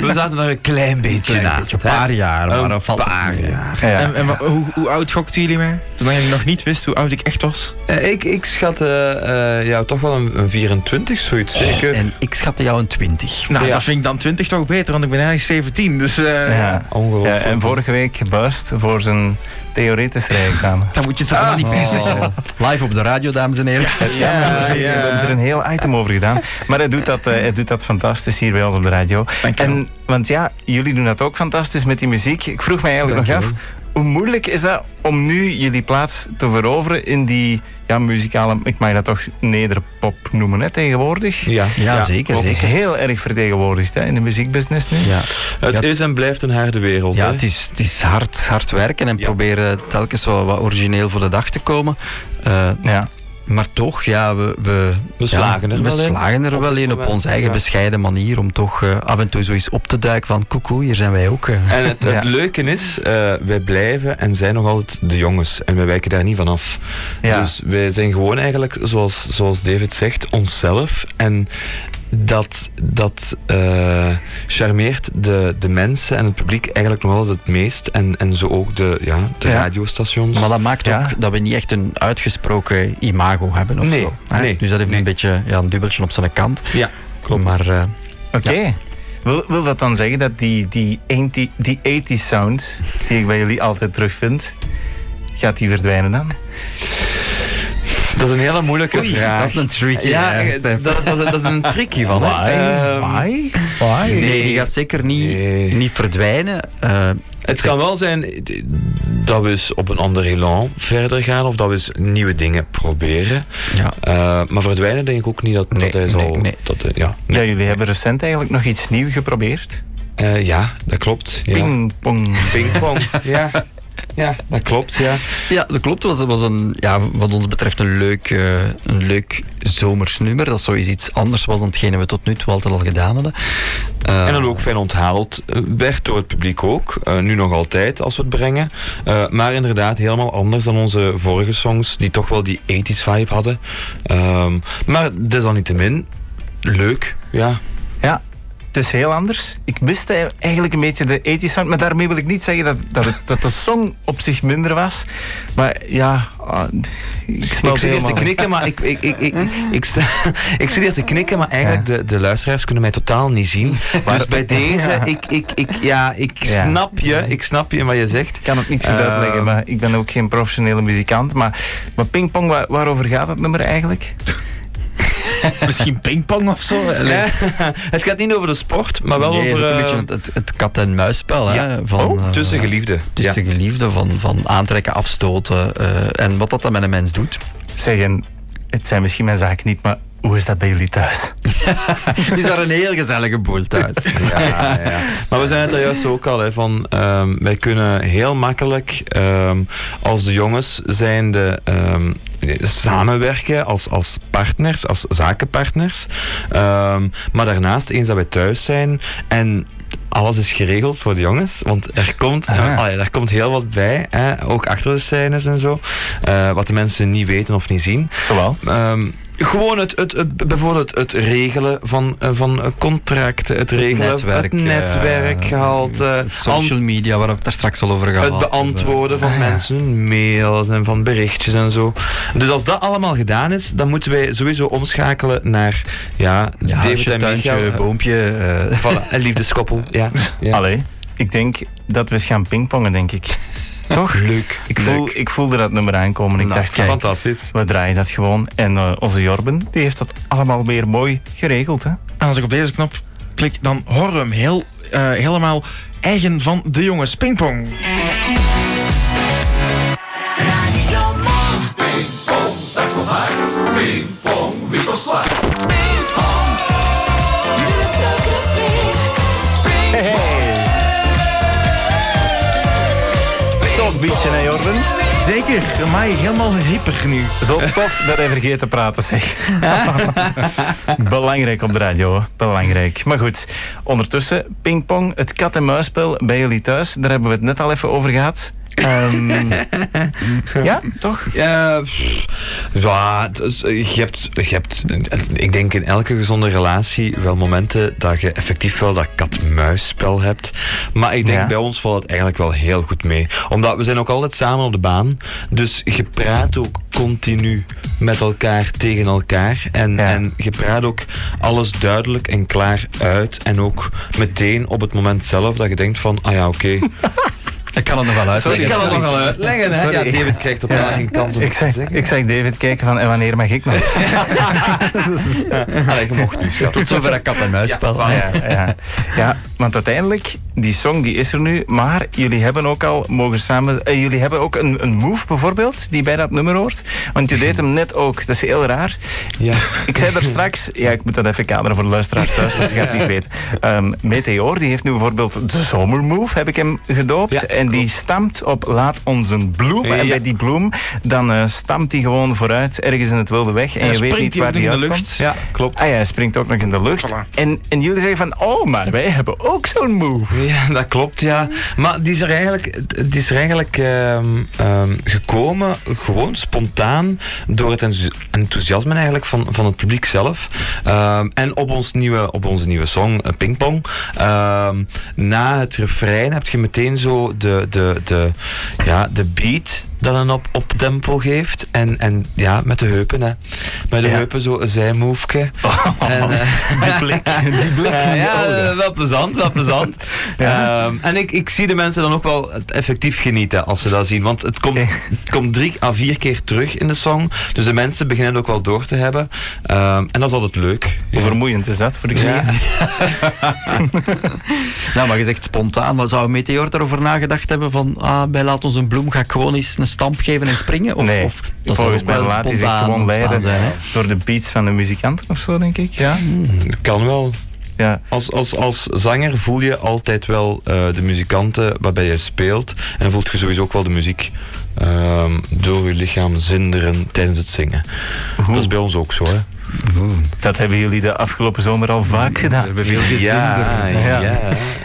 We zaten er een klein beetje naast.
Een paar jaar, maar een paar jaar.
Ja.
En, en wa- hoe, hoe oud gokten jullie mij? Toen ik nog niet wist hoe oud ik echt was.
Eh, Ik, ik schat eh, eh, ja, toch wel een, een 24, zoiets zeker.
En ik schatte jou een 20.
Nou,
Ja.
dat vind ik dan 20 toch beter, want ik ben eigenlijk 17. Dus eh,
Ja. Ja,
Ongelooflijk.
en vorige week gebuist voor zijn theoretisch rijexamen.
daar moet je het allemaal niet bij zeggen.
Oh. Live op de radio, dames en heren.
Ja, we hebben er een heel item over gedaan. Maar hij doet dat, eh, hij doet dat fantastisch hier bij ons op de radio.
Dankjewel.
En, want ja, jullie doen dat ook fantastisch met die muziek. Ik vroeg mij eigenlijk nog af, hoe moeilijk is dat om nu jullie plaats te veroveren in die ja, muzikale, ik mag dat toch nederpop noemen hè, tegenwoordig?
Ja.
Ja, zeker,
Wordt
zeker.
Heel erg vertegenwoordigd hè, in de muziekbusiness nu.
Ja.
Het
Ja.
is en blijft een harde wereld.
Ja,
hè.
het is, het is hard, hard werken en
Ja.
proberen telkens wel wat origineel voor de dag te komen. Eh,
Ja.
maar toch, ja, we, we,
We
ja,
slagen er
we
wel in.
slagen er wel in op
moment,
onze eigen
ja.
bescheiden manier om toch eh, af en toe zoiets op te duiken van koekoe, hier zijn wij ook. eh.
En het, het
Ja.
leuke is, eh, wij blijven en zijn nog altijd de jongens. En wij wijken daar niet van af.
Ja.
Dus wij zijn gewoon eigenlijk, zoals, zoals David zegt, onszelf. En dat, dat eh, charmeert de, de mensen en het publiek eigenlijk nog altijd het meest. En, en zo ook de, ja, de
Ja.
radiostations.
Maar dat maakt
Ja.
ook dat we niet echt een uitgesproken imago hebben of
Nee,
zo. hè.
nee,
dus dat heeft
nee.
een beetje ja, een dubbeltje op zijn kant.
ja, klopt.
Maar eh,
Oké. Wil, wil dat dan zeggen dat die, die, 80 die 80 sound, die ik bij jullie altijd terugvind, gaat die verdwijnen dan?
dat is een hele moeilijke
dat
vraag.
is een tricky.
ja,
hè,
eh,
Stef.
dat, dat, dat is een tricky van. hè. Ehm,
Why?
Nee, die gaat zeker niet,
Nee.
niet verdwijnen. Eh,
Het kan wel zijn d- dat we eens op een ander elan verder gaan of dat we eens nieuwe dingen proberen.
ja.
Eh, maar verdwijnen denk ik ook niet dat,
Nee,
dat hij
nee,
zal.
nee.
Dat, hij- ja.
Ja, jullie hebben recent eigenlijk nog iets nieuws geprobeerd.
Eh, ja, dat klopt. Ja.
Ping pong.
Pingpong. ja. ja, dat klopt. Ja.
Ja, dat klopt. Het was, was een, ja, wat ons betreft een leuk, eh, een leuk zomers nummer. Dat sowieso iets anders was dan hetgene we tot nu toe altijd al gedaan hadden. Eh,
En dan ook fijn onthaald eh, werd door het publiek ook. Eh, nu nog altijd als we het brengen. Eh, maar inderdaad helemaal anders dan onze vorige songs die toch wel die 80s vibe hadden. Ehm, maar desalniettemin leuk. Ja.
Ja. Het is heel anders. Ik miste eigenlijk een beetje de 80 sound. Maar daarmee wil ik niet zeggen dat, dat, het- dat de song op zich minder was. Maar ja, ah, ik
Ik
smelt
zit hier te
helemaal.
knikken, maar ik, ik, ik, ik, ik, sta- ik zit hier te knikken, maar eigenlijk de, de luisteraars kunnen mij totaal niet zien. Dus bij deze, ik, ik, ik, ja, ik
Ja.
snap je, ik snap je wat je zegt. Ik
kan het niet goed
Ehm.
uitleggen, maar ik ben ook geen professionele muzikant. Maar, maar pingpong, waar, waarover gaat het nummer eigenlijk?
Misschien pingpong of zo?
het gaat niet over de sport, maar wel
Nee, het
over...
is ook een
eh,
beetje het, het, het kat-en-muisspel. hè,
Ja.
Van,
Oh, tussen
eh,
geliefden.
Tussen geliefden, van, van aantrekken, afstoten eh, en wat dat dan met een mens doet.
Zeggen, het zijn misschien mijn zaken niet, maar hoe is dat bij jullie thuis?
Het is daar een heel gezellige boel thuis.
ja, ja. Maar we zijn het daar juist ook al, hè, van, ehm, wij kunnen heel makkelijk ehm, als de jongens zijnde ehm, samenwerken als, als partners, als zakenpartners. Ehm, maar daarnaast, eens dat wij thuis zijn en alles is geregeld voor de jongens, want er komt, eh, allee, daar komt heel wat bij, hè, ook achter de scènes en zo, eh, wat de mensen niet weten of niet zien.
Zoals?
Ehm, gewoon het, het, het, bijvoorbeeld het regelen van, eh, van contracten, het regelen,
Netwerk,
het netwerk
eh,
gehaald, eh,
Social Ah, media, waar we het daar straks al over
an-
gehad
het beantwoorden van mensen hun mails en van berichtjes en zo. Dus als dat allemaal gedaan is, dan moeten wij sowieso omschakelen naar ja,
Ja,
David
huisje,
en
tuintje,
Michael.
boompje. eh.
Voilà, een liefdeskoppel. Ja. ja.
Allee, ik denk dat we eens gaan pingpongen, denk ik. Toch?
Leuk.
Ik, voel, ik voelde dat nummer aankomen. Ik
Nou,
dacht, kijk,
fantastisch.
we draaien dat gewoon. En eh, onze Jorben, die heeft dat allemaal weer mooi geregeld. Hè?
En als ik op deze knop klik, dan horen we hem heel, eh, helemaal eigen van de jongens. Pingpong.
Pingpong, zeg toch hard. Pingpong, wit of zwart.
Tof beetje, hè Jorben?
Zeker, maar helemaal hyper nu.
Zo tof dat hij vergeet te praten, zeg. Belangrijk op de radio, hoor. belangrijk. Maar goed, ondertussen, pingpong, het kat-en-muisspel bij jullie thuis. Daar hebben we het net al even over gehad. Ehm, ja, toch?
Ja, pff, ja, dus, eh, je hebt, je hebt, eh, ik denk in elke gezonde relatie wel momenten dat je effectief wel dat kat-muisspel hebt. Maar ik denk
Ja.
bij ons valt het eigenlijk wel heel goed mee. Omdat we zijn ook altijd samen op de baan. Dus je praat ook continu met elkaar tegen elkaar. En, en je praat ook alles duidelijk en klaar uit. En ook meteen op het moment zelf dat je denkt van, ah ja, oké.
Ik kan het nog wel
Sorry, ik kan het nog wel uitleggen. Hè? Ja, David kijkt op
Ja.
geen kans om
ik
het te
zeg,
zeggen.
Ik zeg David kijken van, en wanneer mag ik nog?
Allee, je mocht nu, schat.
Tot zover dat kat-en-muisspel.
Ja, ja, ja. ja, want uiteindelijk, die song die is er nu, maar jullie hebben ook al mogen samen... eh, jullie hebben ook een, een move bijvoorbeeld, die bij dat nummer hoort. Want je deed hem net ook, dat is heel raar.
Ja.
Ik zei daar straks, ja, ik moet dat even kaderen voor de luisteraars thuis, want ze gaan het niet weten. Ehm, Meteor, die heeft nu bijvoorbeeld de zomermove, heb ik hem gedoopt. en die stamt op Laat ons een bloem. En bij die bloem, dan eh, stamt hij gewoon vooruit, ergens in het wilde weg. En,
En dan
je weet
springt
niet
hij
waar
ook nog
die
in de
uitkomt.
lucht.
Ja, klopt. Ah ja, hij springt ook nog in de lucht. En, en jullie zeggen van, oh, maar wij hebben ook zo'n move.
Ja, dat klopt, ja. Maar die is er eigenlijk, het is er eigenlijk ehm, ehm, gekomen, gewoon spontaan, door het enthousi- enthousiasme eigenlijk van, van het publiek zelf. Ehm, en op, ons nieuwe, op onze nieuwe song, eh, Pingpong, ehm, na het refrein heb je meteen zo de, de, de, ja, de beat dat een op, op tempo geeft. En, en ja, met de heupen, hè. Met de heupen zo een zijmoefje. En, eh,
Die blik, die blik
ja,
in je
ja,
ogen.
eh, wel plezant, wel plezant. Ehm, en ik, ik zie de mensen dan ook wel het effectief genieten als ze dat zien. Want het komt, het komt drie à vier keer terug in de song. Dus de mensen beginnen het ook wel door te hebben. Ehm, en dat is altijd leuk.
Hoe vermoeiend is dat voor de
Ja.
knieën?
Nou, maar je zegt spontaan. Maar zou Meteor daarover nagedacht hebben van... Ah, bij Laat ons een bloem ga ik gewoon eens een stamp geven en springen? Of,
Nee,
of, zou
volgens
ook
mij
wel
laat hij zich
spontaan
gewoon
ontstaan
leiden
zijn, hè?
door de beats van de muzikanten of zo, denk ik. Ja.
Het kan wel.
Ja.
Als, als, als zanger voel je altijd wel eh, de muzikanten waarbij je speelt. En voelt je sowieso ook wel de muziek ehm, door je lichaam zinderen tijdens het zingen. Dat is bij ons ook zo, hè.
Dat hebben jullie de afgelopen zomer al vaak gedaan.
Ja, ja.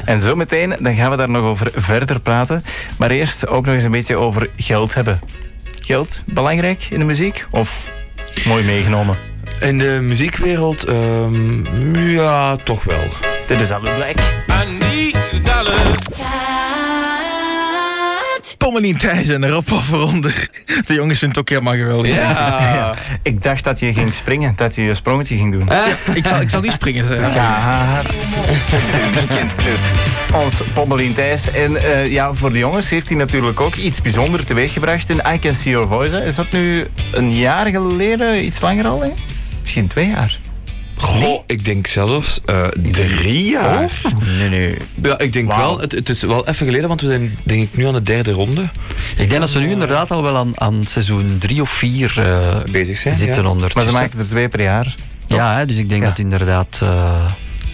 En zometeen dan gaan we daar nog over verder praten. Maar eerst ook nog eens een beetje over geld hebben. Geld, belangrijk in de muziek? Of mooi meegenomen?
In de muziekwereld, ehm, ja, toch wel.
Dit is Alu Black.
Pommelien Thijs en Rob van onder. De jongens vindt het ook helemaal geweldig.
Ja. Ik dacht dat je ging springen, dat je een sprongetje ging doen.
Ja, ik, zal, ik zal niet springen. zeg.
Gaat. De weekendclub. Ons Pommelien Thijs. En eh, ja, voor de jongens heeft hij natuurlijk ook iets bijzonders teweeggebracht in I Can See Your Voice. hè. Is dat nu een jaar geleden, iets langer al? Hè? Misschien twee jaar.
Goh, ik denk zelfs eh, drie jaar.
Nee, nee.
Ja, ik denk wel. Het, het is wel even geleden, want we zijn denk ik nu aan de derde ronde.
Ik denk dat ze nu inderdaad al wel aan, aan seizoen drie of vier eh,
Bezig zijn,
zitten
ja.
ondertussen.
Maar ze maken er twee per jaar.
Ja, hè, dus ik denk dat inderdaad... eh,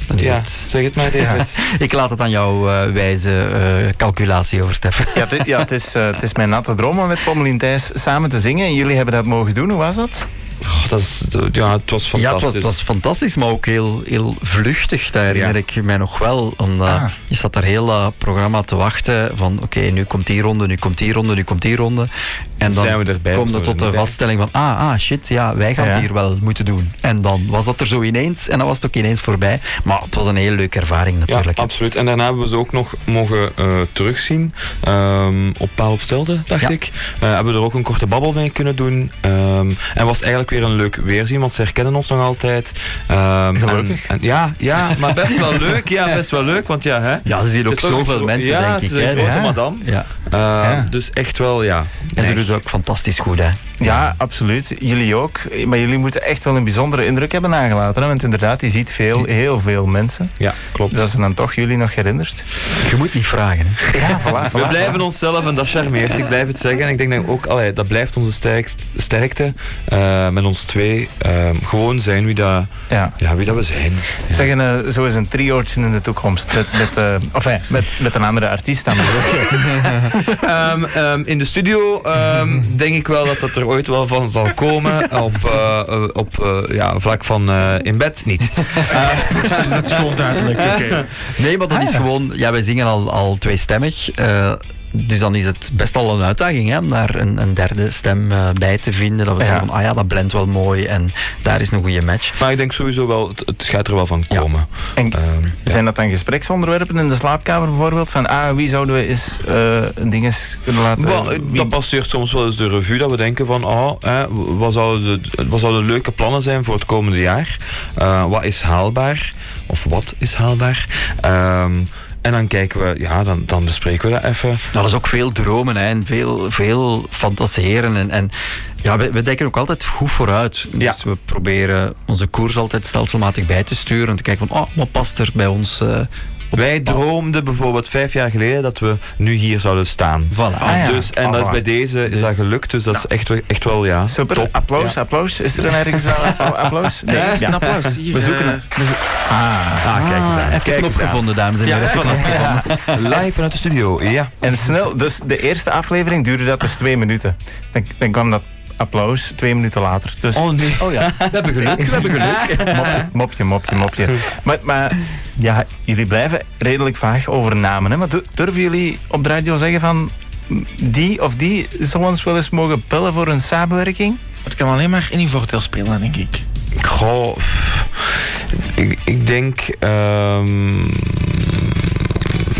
dan is
Ja,
het-
zeg het maar, David.
ik laat het aan jouw eh, wijze eh, calculatie over Stef.
Ja, het, ja, het, is, eh, het is mijn natte droom om met Pommelien Thijs samen te zingen. En jullie hebben dat mogen doen. Hoe was dat?
Goh, dat is, dat- ja, het was fantastisch.
Ja, het was, het was fantastisch, maar ook heel, heel vluchtig. Daar herinner ik mij nog wel. Omdat
Ah.
Je zat daar heel dat programma te wachten van oké, nu komt die ronde, nu komt die ronde, nu komt die ronde. En dan
Zijn we erbij,
kom je
zijn we
tot de
erbij?
vaststelling van ah, ah, shit, ja, wij gaan
Ja.
het hier wel moeten doen. En dan was dat er zo ineens en dan was het ook ineens voorbij. Maar het was een heel leuke ervaring
Ja,
natuurlijk.
absoluut. En daarna hebben we ze ook nog mogen eh, terugzien ehm, op paal op stelden, dacht
Ja.
ik. Eh, hebben we er ook een korte babbel mee kunnen doen. ehm, en was eigenlijk weer een leuk weerzien, want ze herkennen ons nog altijd. Ehm,
Gelukkig.
en- en- ja, ja, maar best wel leuk. Ja, best wel leuk, want ja, hè.
ja, ze zien ook
Het is toch
zoveel
een-
mensen,
ja,
denk ik.
het is
hè.
een grote
Ja.
madame.
Ja.
Eh, Dus echt wel, ja.
En ze
Nee.
doen het ook fantastisch goed, hè.
Ja, absoluut. Jullie ook. Maar jullie moeten echt wel een bijzondere indruk hebben nagelaten. Hè? Want inderdaad, je ziet veel, heel veel mensen.
Ja, klopt.
Dat ze dan toch jullie nog herinnert.
Je moet niet vragen, hè.
Ja, voilà.
We blijven onszelf en dat charmeert. Ik blijf het zeggen. En ik denk dat ook, allee, dat blijft onze sterkst- sterkte. eh, met ons twee. Ehm, gewoon zijn wie dat,
Ja.
ja, wie dat we zijn.
Zeg, en, eh, zo is een triootje in de toekomst. Met, met, eh, enfin, met, met een andere artiest aan de rug.
Ehm, ehm, in de studio ehm, denk ik wel dat dat er ooit wel van zal komen. Op, eh, eh, op eh, ja, vlak van eh, in bed niet.
Dus dat is gewoon duidelijk. oké.
Nee, maar dat is gewoon... Ah, Ja, wij zingen al, al tweestemmig. eh, dus dan is het best al een uitdaging hè, om daar een, een derde stem eh, bij te vinden. Dat we
Ja.
zeggen van, ah ja, dat blendt wel mooi en daar is een goede match.
Maar ik denk sowieso wel, het, het gaat er wel van
Ja.
komen.
En
Ehm,
zijn dat dan gespreksonderwerpen in de slaapkamer bijvoorbeeld? Van, ah, wie zouden we eens eh dingen kunnen laten...
Wel, eh,
wie-
dat passeert soms wel eens de revue dat we denken van oh, hè, wat, zouden de, wat zouden leuke plannen zijn voor het komende jaar? Eh, wat is haalbaar? Of wat is haalbaar? Ehm, en dan kijken we, ja, dan, dan bespreken we dat even.
Nou, dat is ook veel dromen hè, en veel, veel fantaseren. En, en ja, we, we denken ook altijd goed vooruit. Dus
Ja.
we proberen onze koers altijd stelselmatig bij te sturen. En te kijken van, oh, wat past er bij ons? eh op-
Wij droomden bijvoorbeeld vijf jaar geleden dat we nu hier zouden staan.
Voilà.
Ah, ja.
Dus, en dat is bij deze is dat gelukt, dus dat is echt, wel- echt wel, ja.
Super,
top.
applaus, applaus. Is er een ergens aan applaus? Nee, ja.
Een applaus. Hier,
We zoeken
eh,
het. We zo- Ah.
Ah, kijk eens aan.
Even
kijk
knop
eens aan.
gevonden, dames en heren.
Live vanuit de studio, ja.
En snel, dus de eerste aflevering duurde dat dus twee minuten. Dan, dan kwam dat applaus twee minuten later. Dus
Oh nee.
Oh ja, we hebben geluk, we hebben geluk.
mopje, mopje, mopje, mopje. Maar, maar ja, jullie blijven redelijk vaag over namen. Hè? Maar du- durven jullie op de radio zeggen van... m, Die of die zou ons wel eens mogen bellen voor een samenwerking?
Het kan alleen maar in uw voordeel spelen, denk ik.
Goh, pff. ik, ik denk. ehm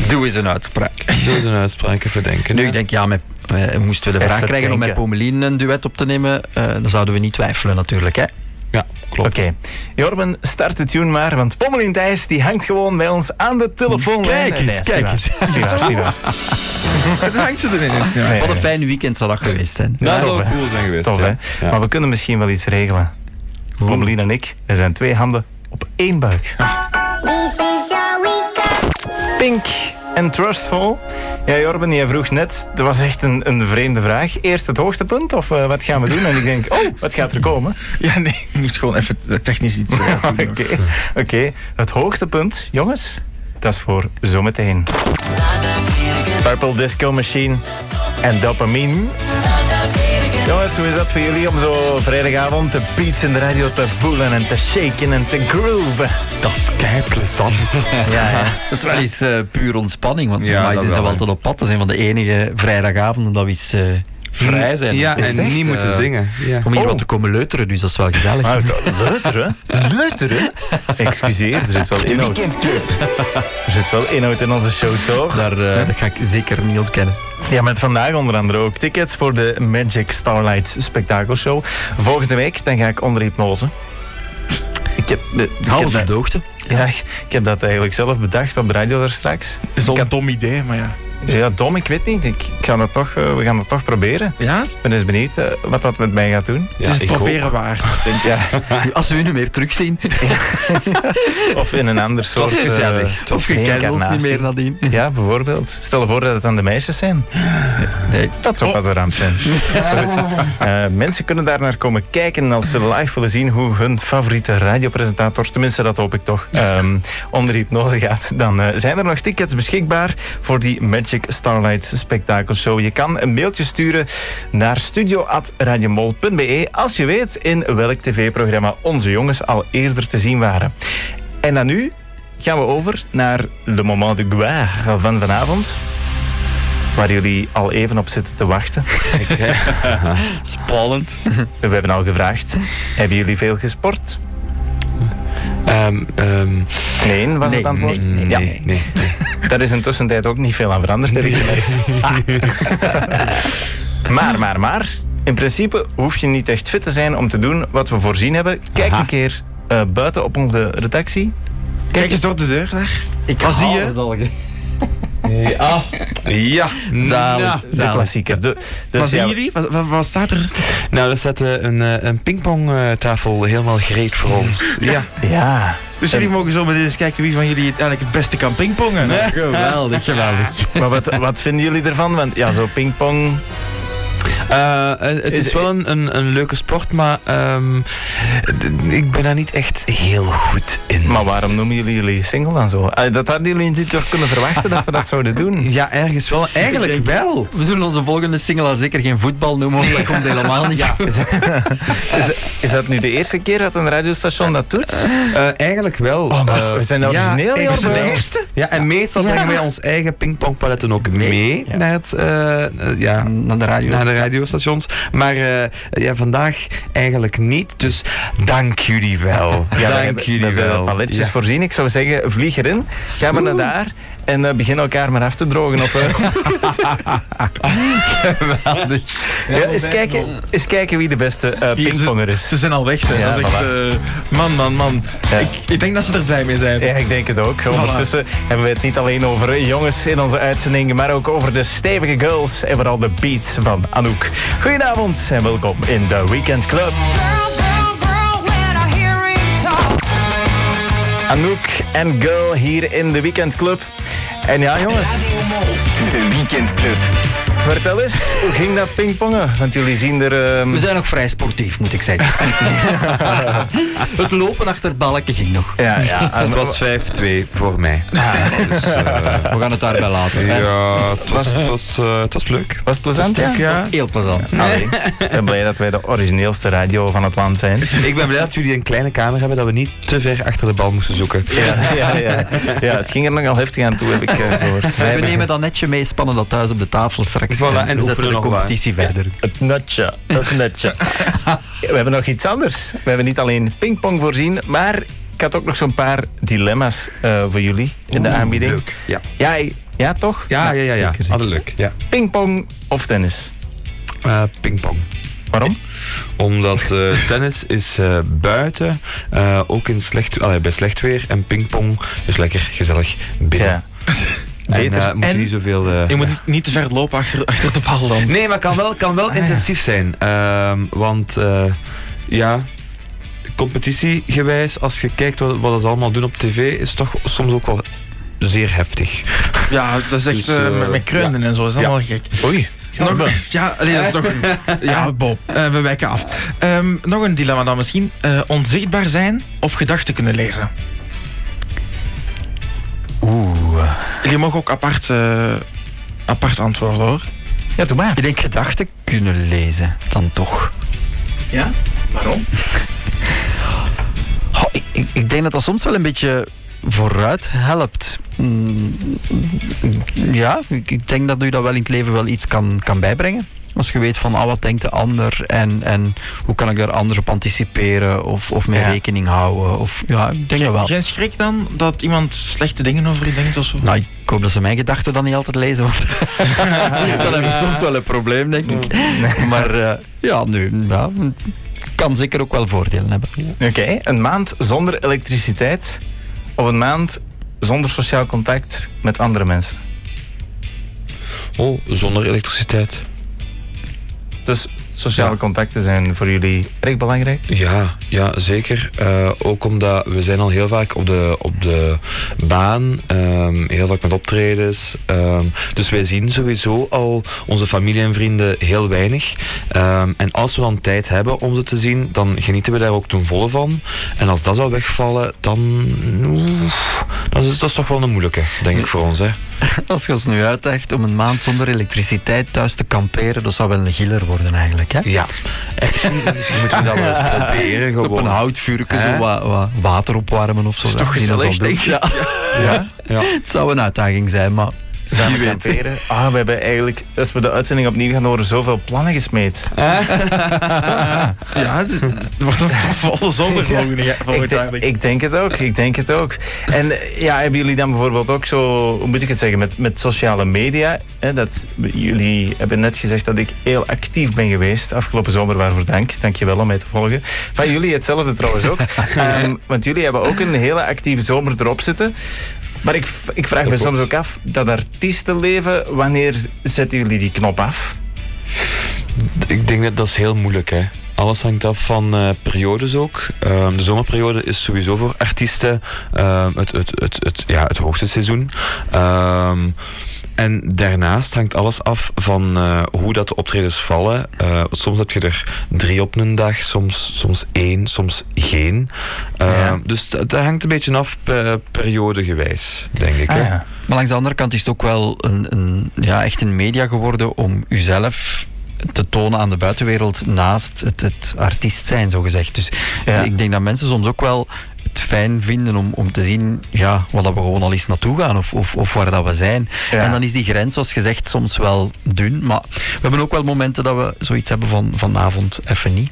Doe eens een uitspraak.
zo is een uitspraak even denken.
Nu,
hè.
ik denk, ja, met, eh, moesten we de
Even
vraag krijgen om met
denken.
Pommelien een duet op te nemen, eh, dan zouden we niet twijfelen natuurlijk, hè.
Ja, klopt.
Oké. Jorben, start de tune maar, want Pommelien Thijs die hangt gewoon bij ons aan de telefoon.
Kijk eens, kijk eens.
Het hangt ze erin. is het niet waar?
Wat een fijn weekend zal dat geweest zijn.
Dat zou
tof, hè?
cool zijn geweest.
Tof,
ja.
hè?
Ja.
Maar we kunnen misschien wel iets regelen. Pommelien en ik, er zijn twee handen op één buik.
This is all we got.
Pink en Trustful. Ja, Jorben, jij vroeg net, dat was echt een, een vreemde vraag. Eerst het hoogtepunt of eh, wat gaan we doen? En ik denk, oh, wat gaat er komen?
Ja, nee, ik moest gewoon even technisch iets eh, goed
Oké,
doen.
oké. het hoogtepunt, jongens, dat is voor zometeen. Purple Disco Machine en Dopamine. Jongens, hoe is dat voor jullie om zo vrijdagavond de beats in de radio te voelen en te shaken en te grooven?
Dat is kei plezant.
Ja, ja. Dat is wel eens eh, puur ontspanning, want
Ja,
normaal
dat
is dat
wel, hè.
we altijd op pad. Dat is een van de enige vrijdagavonden dat we eens eh,
vrij zijn.
Ja,
Is
en
het echt?
niet moeten
Eh,
zingen.
Ja.
Om hier
Oh.
wat te komen leuteren, dus dat is wel gezellig.
Maar
leuteren? Leuteren? Excuseer, er zit wel
De
inhoud. Er zit wel inhoud in onze show, toch? Daar,
eh, Dat ga ik zeker niet ontkennen.
Ja, met vandaag onder andere ook tickets voor de Magic Starlight Spektakelshow. Volgende week dan ga ik onder hypnose. Ik heb, eh, ik
Hou
heb
ons op
dat-
de hoogte.
Ja, ik heb dat eigenlijk zelf bedacht op de radio daar straks.
is al een dom idee, maar ja.
Ja, dom, ik weet niet. Ik, ik ga dat toch, eh, we gaan dat toch proberen.
Ja?
Ik ben eens benieuwd eh, wat dat met mij gaat doen.
Het is het proberen waard, denk ik.
Ja.
Als we u nu meer terugzien.
Of in een ander
was
soort
gezellig.
eh,
Het was gezellig,
reïncarnatie.
niet meer nadien.
Ja, bijvoorbeeld. Stel voor dat het aan de meisjes zijn. Dat zou pas een ramp zijn. Goed. Eh, mensen kunnen daar naar komen kijken als ze live willen zien hoe hun favoriete radiopresentator, tenminste dat hoop ik toch, ehm, onder hypnose gaat. Dan eh, zijn er nog tickets beschikbaar voor die Magic Starlight Spektakelshow. Je kan een mailtje sturen naar studio.radiomol.be als je weet in welk tv-programma onze jongens al eerder te zien waren. En dan nu gaan we over naar Le Moment de Gloire van vanavond. Waar jullie al even op zitten te wachten.
Spannend.
We hebben al gevraagd: hebben jullie veel gesport?
Ehm,
nee, was het antwoord?
nee,
ja.
nee, nee.
Daar is in tussentijd ook niet veel aan veranderd, heb ik gemerkt. Ah. maar, maar, maar. In principe hoef je niet echt fit te zijn om te doen wat we voorzien hebben. Kijk een keer eh, buiten op onze redactie.
Kijk eens door de deur daar.
Ik
Wat zie je?
Ja. Ja.
Zalig,
Nou,
zalig.
De klassieker. De, dus
Wat zien
ja,
jullie? Wat, staat er? Nou, er staat eh, een, eh, een pingpongtafel helemaal gereed voor ons. Ja.
Ja.
Dus jullie mogen zo meteen eens kijken wie van jullie het eigenlijk het beste kan pingpongen. hè?
Geweldig, geweldig.
Maar wat, wat vinden jullie ervan? Want ja, zo pingpong.
Eh, eh, het is wel een, een, een leuke sport, maar ehm, d- ik ben daar niet echt heel goed in.
Maar waarom noemen jullie jullie single dan zo? Eh, Dat hadden jullie niet toch kunnen verwachten dat we dat zouden doen?
Ja, ergens wel. Eigenlijk wel.
We zullen onze volgende single al zeker geen voetbal noemen, want dat komt helemaal niet. Ja.
Is, is, is dat nu de eerste keer dat een radiostation dat doet?
Eh, eigenlijk wel.
Oh, maar
Eh,
we zijn origineel,
ja,
joh,
we zijn
bro.
de eerste. Ja, en meestal
Ja.
brengen wij ons eigen pingpongpaletten ook mee, naar, het, eh, eh, ja,
Naar de radio.
naar de radiostations. Maar eh, ja, vandaag eigenlijk niet. Dus dank jullie wel.
Ja, we
dank
hebben- we
jullie
hebben
wel.
paletjes
Ja.
voorzien. Ik zou zeggen, vlieg erin, ga maar naar daar en eh, begin elkaar maar af te drogen. Of, eh, ja, eens, kijken, eens kijken wie de beste eh,
Hier,
pingponger
ze,
is.
ze zijn al weg. Ze.
Ja,
dat is echt,
voilà.
eh, man, man, man. Ik, ik denk dat ze er blij mee zijn.
Ja, ik denk het ook. Ondertussen hebben we het niet alleen over eh, jongens in onze uitzending, maar ook over de stevige girls en vooral de beats van Anouk. Goedenavond en welkom in de Weekend Club. Anouk en Girl hier in de Weekend Club. En ja, jongens. De Weekend Club. Vertel eens, hoe ging dat pingpongen? Want jullie zien er... ehm,
We zijn nog vrij sportief, moet ik zeggen. het lopen achter het balken ging nog.
Ja, ja.
Het was 5-2 voor mij. Dus, eh,
We gaan het daarbij laten. hè.
ja, het was, het was, eh, het was leuk.
Was het plezant,
Het was leuk, ja.
Heel plezant.
Allee, ik ben blij dat wij de origineelste radio van het land zijn.
Ik ben blij dat jullie een kleine kamer hebben, dat we niet te ver achter de bal moesten zoeken.
Ja, ja, ja. ja, het ging er nogal heftig aan toe, heb ik eh, gehoord. Wij
We
hebben
nemen dat netje mee, spannen dat thuis op de tafel straks.
Voilà, en
we zetten
oefenen
de
nog
competitie verder.
Het nutje, het nutje. We hebben nog iets anders. We hebben niet alleen pingpong voorzien, maar ik had ook nog zo'n paar dilemma's eh, voor jullie in de aanbieding.
Leuk. Ja,
Ja, ik- ja, toch?
ja, ja. ja, ja. Hadden leuk. Ja.
Pingpong of tennis?
Eh, pingpong.
Waarom?
Omdat eh, tennis is eh, buiten, eh, ook in slecht, allee, bij slecht weer. En pingpong is lekker gezellig binnen.
Ja.
En
Beter.
eh, moet je
En-
niet zoveel... eh,
Je moet niet, niet te ver lopen achter, achter de bal dan.
Nee, maar kan wel, kan wel intensief zijn. Ehm, want eh, ja, competitiegewijs, als je kijkt wat, wat ze allemaal doen op tv, is toch soms ook wel zeer heftig.
Ja, dat is echt
Dus,
eh,
eh,
met, met kreunen en zo. Dat is allemaal gek.
Oei.
Nog, ja, allee, dat is toch... Ja, Bob, eh, we wijken af. Ehm, nog een dilemma dan misschien. Eh, onzichtbaar zijn of gedachten kunnen lezen? Oeh. Jullie mogen ook apart, eh, apart antwoorden, hoor.
Ja, doe maar.
Ik denk gedachten kunnen lezen, dan toch.
Ja? Waarom?
Goh, ik, ik, ik denk dat dat soms wel een beetje vooruit helpt. Mm, Ja, ik, ik denk dat u dat wel in het leven wel iets kan, kan bijbrengen. Als je weet van ah, wat denkt de ander en, en hoe kan ik daar anders op anticiperen of, of mee
Ja.
rekening houden. Of, ja, ik denk
Geen-
dat wel.
Geen schrik dan dat iemand slechte dingen over je denkt? Alsof...
Nou, ik hoop dat ze mijn gedachten dan niet altijd lezen, want dan heb ik soms wel een probleem, denk ik. Maar eh, ja, nu, ja, kan zeker ook wel voordelen hebben.
Eh, Oké, een maand zonder elektriciteit of een maand zonder sociaal contact met andere mensen.
Oh, zonder elektriciteit.
Dus sociale contacten zijn voor jullie erg belangrijk?
Ja, ja zeker. Eh, ook omdat we zijn al heel vaak op de, op de baan, ehm, heel vaak met optredens. ehm, dus wij zien sowieso al onze familie en vrienden heel weinig. Ehm, en als we dan tijd hebben om ze te zien, dan genieten we daar ook ten volle van. En als dat zou wegvallen, dan... oeh, dat, is, dat is toch wel een moeilijke, denk ik, voor ons. Hè.
Als je ons nu uitdaagt om een maand zonder elektriciteit thuis te kamperen, dat zou wel een giller worden eigenlijk, hè?
Ja. Misschien moeten we dat wel eens proberen, gewoon.
Op een houtvuur
Hè?
zo wat, wat water opwarmen of zo.
Is toch
Dat zien we
gezellig,
zo doen.
denk ik. Ja. Ja.
Het zou een uitdaging zijn, maar
Samen
wie weet.
kamperen. Ah, we hebben eigenlijk, als we de uitzending opnieuw gaan horen, zoveel plannen gesmeed.
Nou, Ja, het wordt een volle zomer volgende jaar-
ik,
volgend
denk-
jaar. denk ik.
ik denk het ook, ik denk het ook. En eh, ja, hebben jullie dan bijvoorbeeld ook zo, hoe moet ik het zeggen, met, met sociale media? Hè, dat, jullie hebben net gezegd dat ik heel actief ben geweest afgelopen zomer, waarvoor dank. Dankjewel om mij te volgen. Van jullie hetzelfde trouwens ook. Ehm, want jullie hebben ook een hele actieve zomer erop zitten. Maar ik, v- ik vraag me soms ook af, dat artiestenleven, wanneer zetten jullie die knop af?
Ik denk dat dat is heel moeilijk, hè. Alles hangt af van eh, periodes ook. Ehm, de zomerperiode is sowieso voor artiesten ehm, het, het, het, het, ja, het hoogste seizoen. Ehm, en daarnaast hangt alles af van eh, hoe dat de optredens vallen. Eh, soms heb je er drie op een dag, soms, soms één, soms geen. Ehm, Dus dat dat hangt een beetje af per, periodegewijs, denk
Ah,
ik.
Ah,
hè.
Maar langs de andere kant is het ook wel een, een, ja, echt een media geworden om uzelf te tonen aan de buitenwereld naast het, het artiest zijn, zogezegd. Dus ik denk dat mensen soms ook wel het fijn vinden om, om te zien ja, wat dat we gewoon al eens naartoe gaan of, of, of waar dat we zijn. En dan is die grens, zoals gezegd, soms wel dun. Maar we hebben ook wel momenten dat we zoiets hebben van vanavond even niet.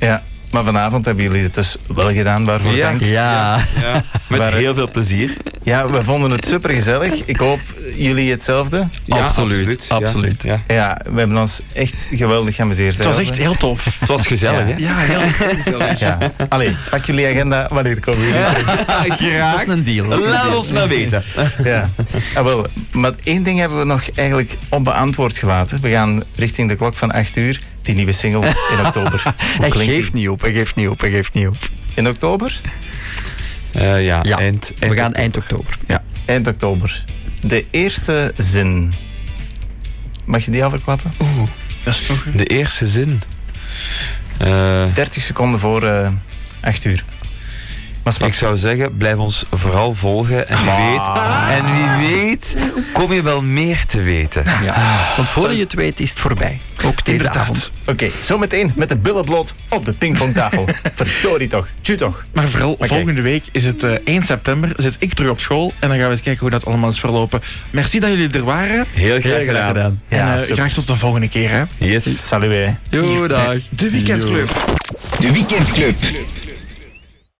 Ja, maar vanavond hebben jullie het dus wel gedaan, waarvoor
Ja.
dank.
Ja.
Ja, met heel veel plezier.
Ja, we vonden het supergezellig. Ik hoop jullie hetzelfde.
Ja, Absoluut, absoluut, ja, absoluut.
Ja,
ja.
we hebben ons echt geweldig geamuseerd.
Het was echt heel tof.
Het was gezellig, hè?
Ja, heel gezellig.
Ja. Allee, pak jullie agenda, wanneer komen jullie?
Graag.
Een deal.
Laat ons maar weten.
Ja. Ah, wel, maar één ding hebben we nog eigenlijk onbeantwoord gelaten. We gaan richting de klok van 8 uur, die nieuwe single in oktober. Hoe
Hij
klinkt die?
geeft niet op, hij geeft niet op, hij geeft niet op.
In oktober?
Eh, ja,
Ja,
eind,
we gaan eind oktober. Ja.
Eind oktober. De eerste zin. Mag je die al verklappen?
Dat is toch...
De eerste zin. Eh,
30 seconden voor eh 8 uur. Maar
ik zou zeggen, blijf ons vooral volgen. En wie, weet, en wie weet, kom je wel meer te weten.
Want voordat je het weet is het voorbij. Ook deze avond.
Oké, zometeen met de billen bloot op de pingpongtafel. Verdorie toch, tju toch.
Maar vooral volgende week is het eh, 1 september, zit ik terug op school en dan gaan we eens kijken hoe dat allemaal is verlopen. Merci dat jullie er waren.
Heel graag gedaan.
en
Ja,
eh,
super.
graag tot de volgende keer, hè.
Yes.
Salut hè.
Jo, dag.
De Weekendclub.
De Weekendclub.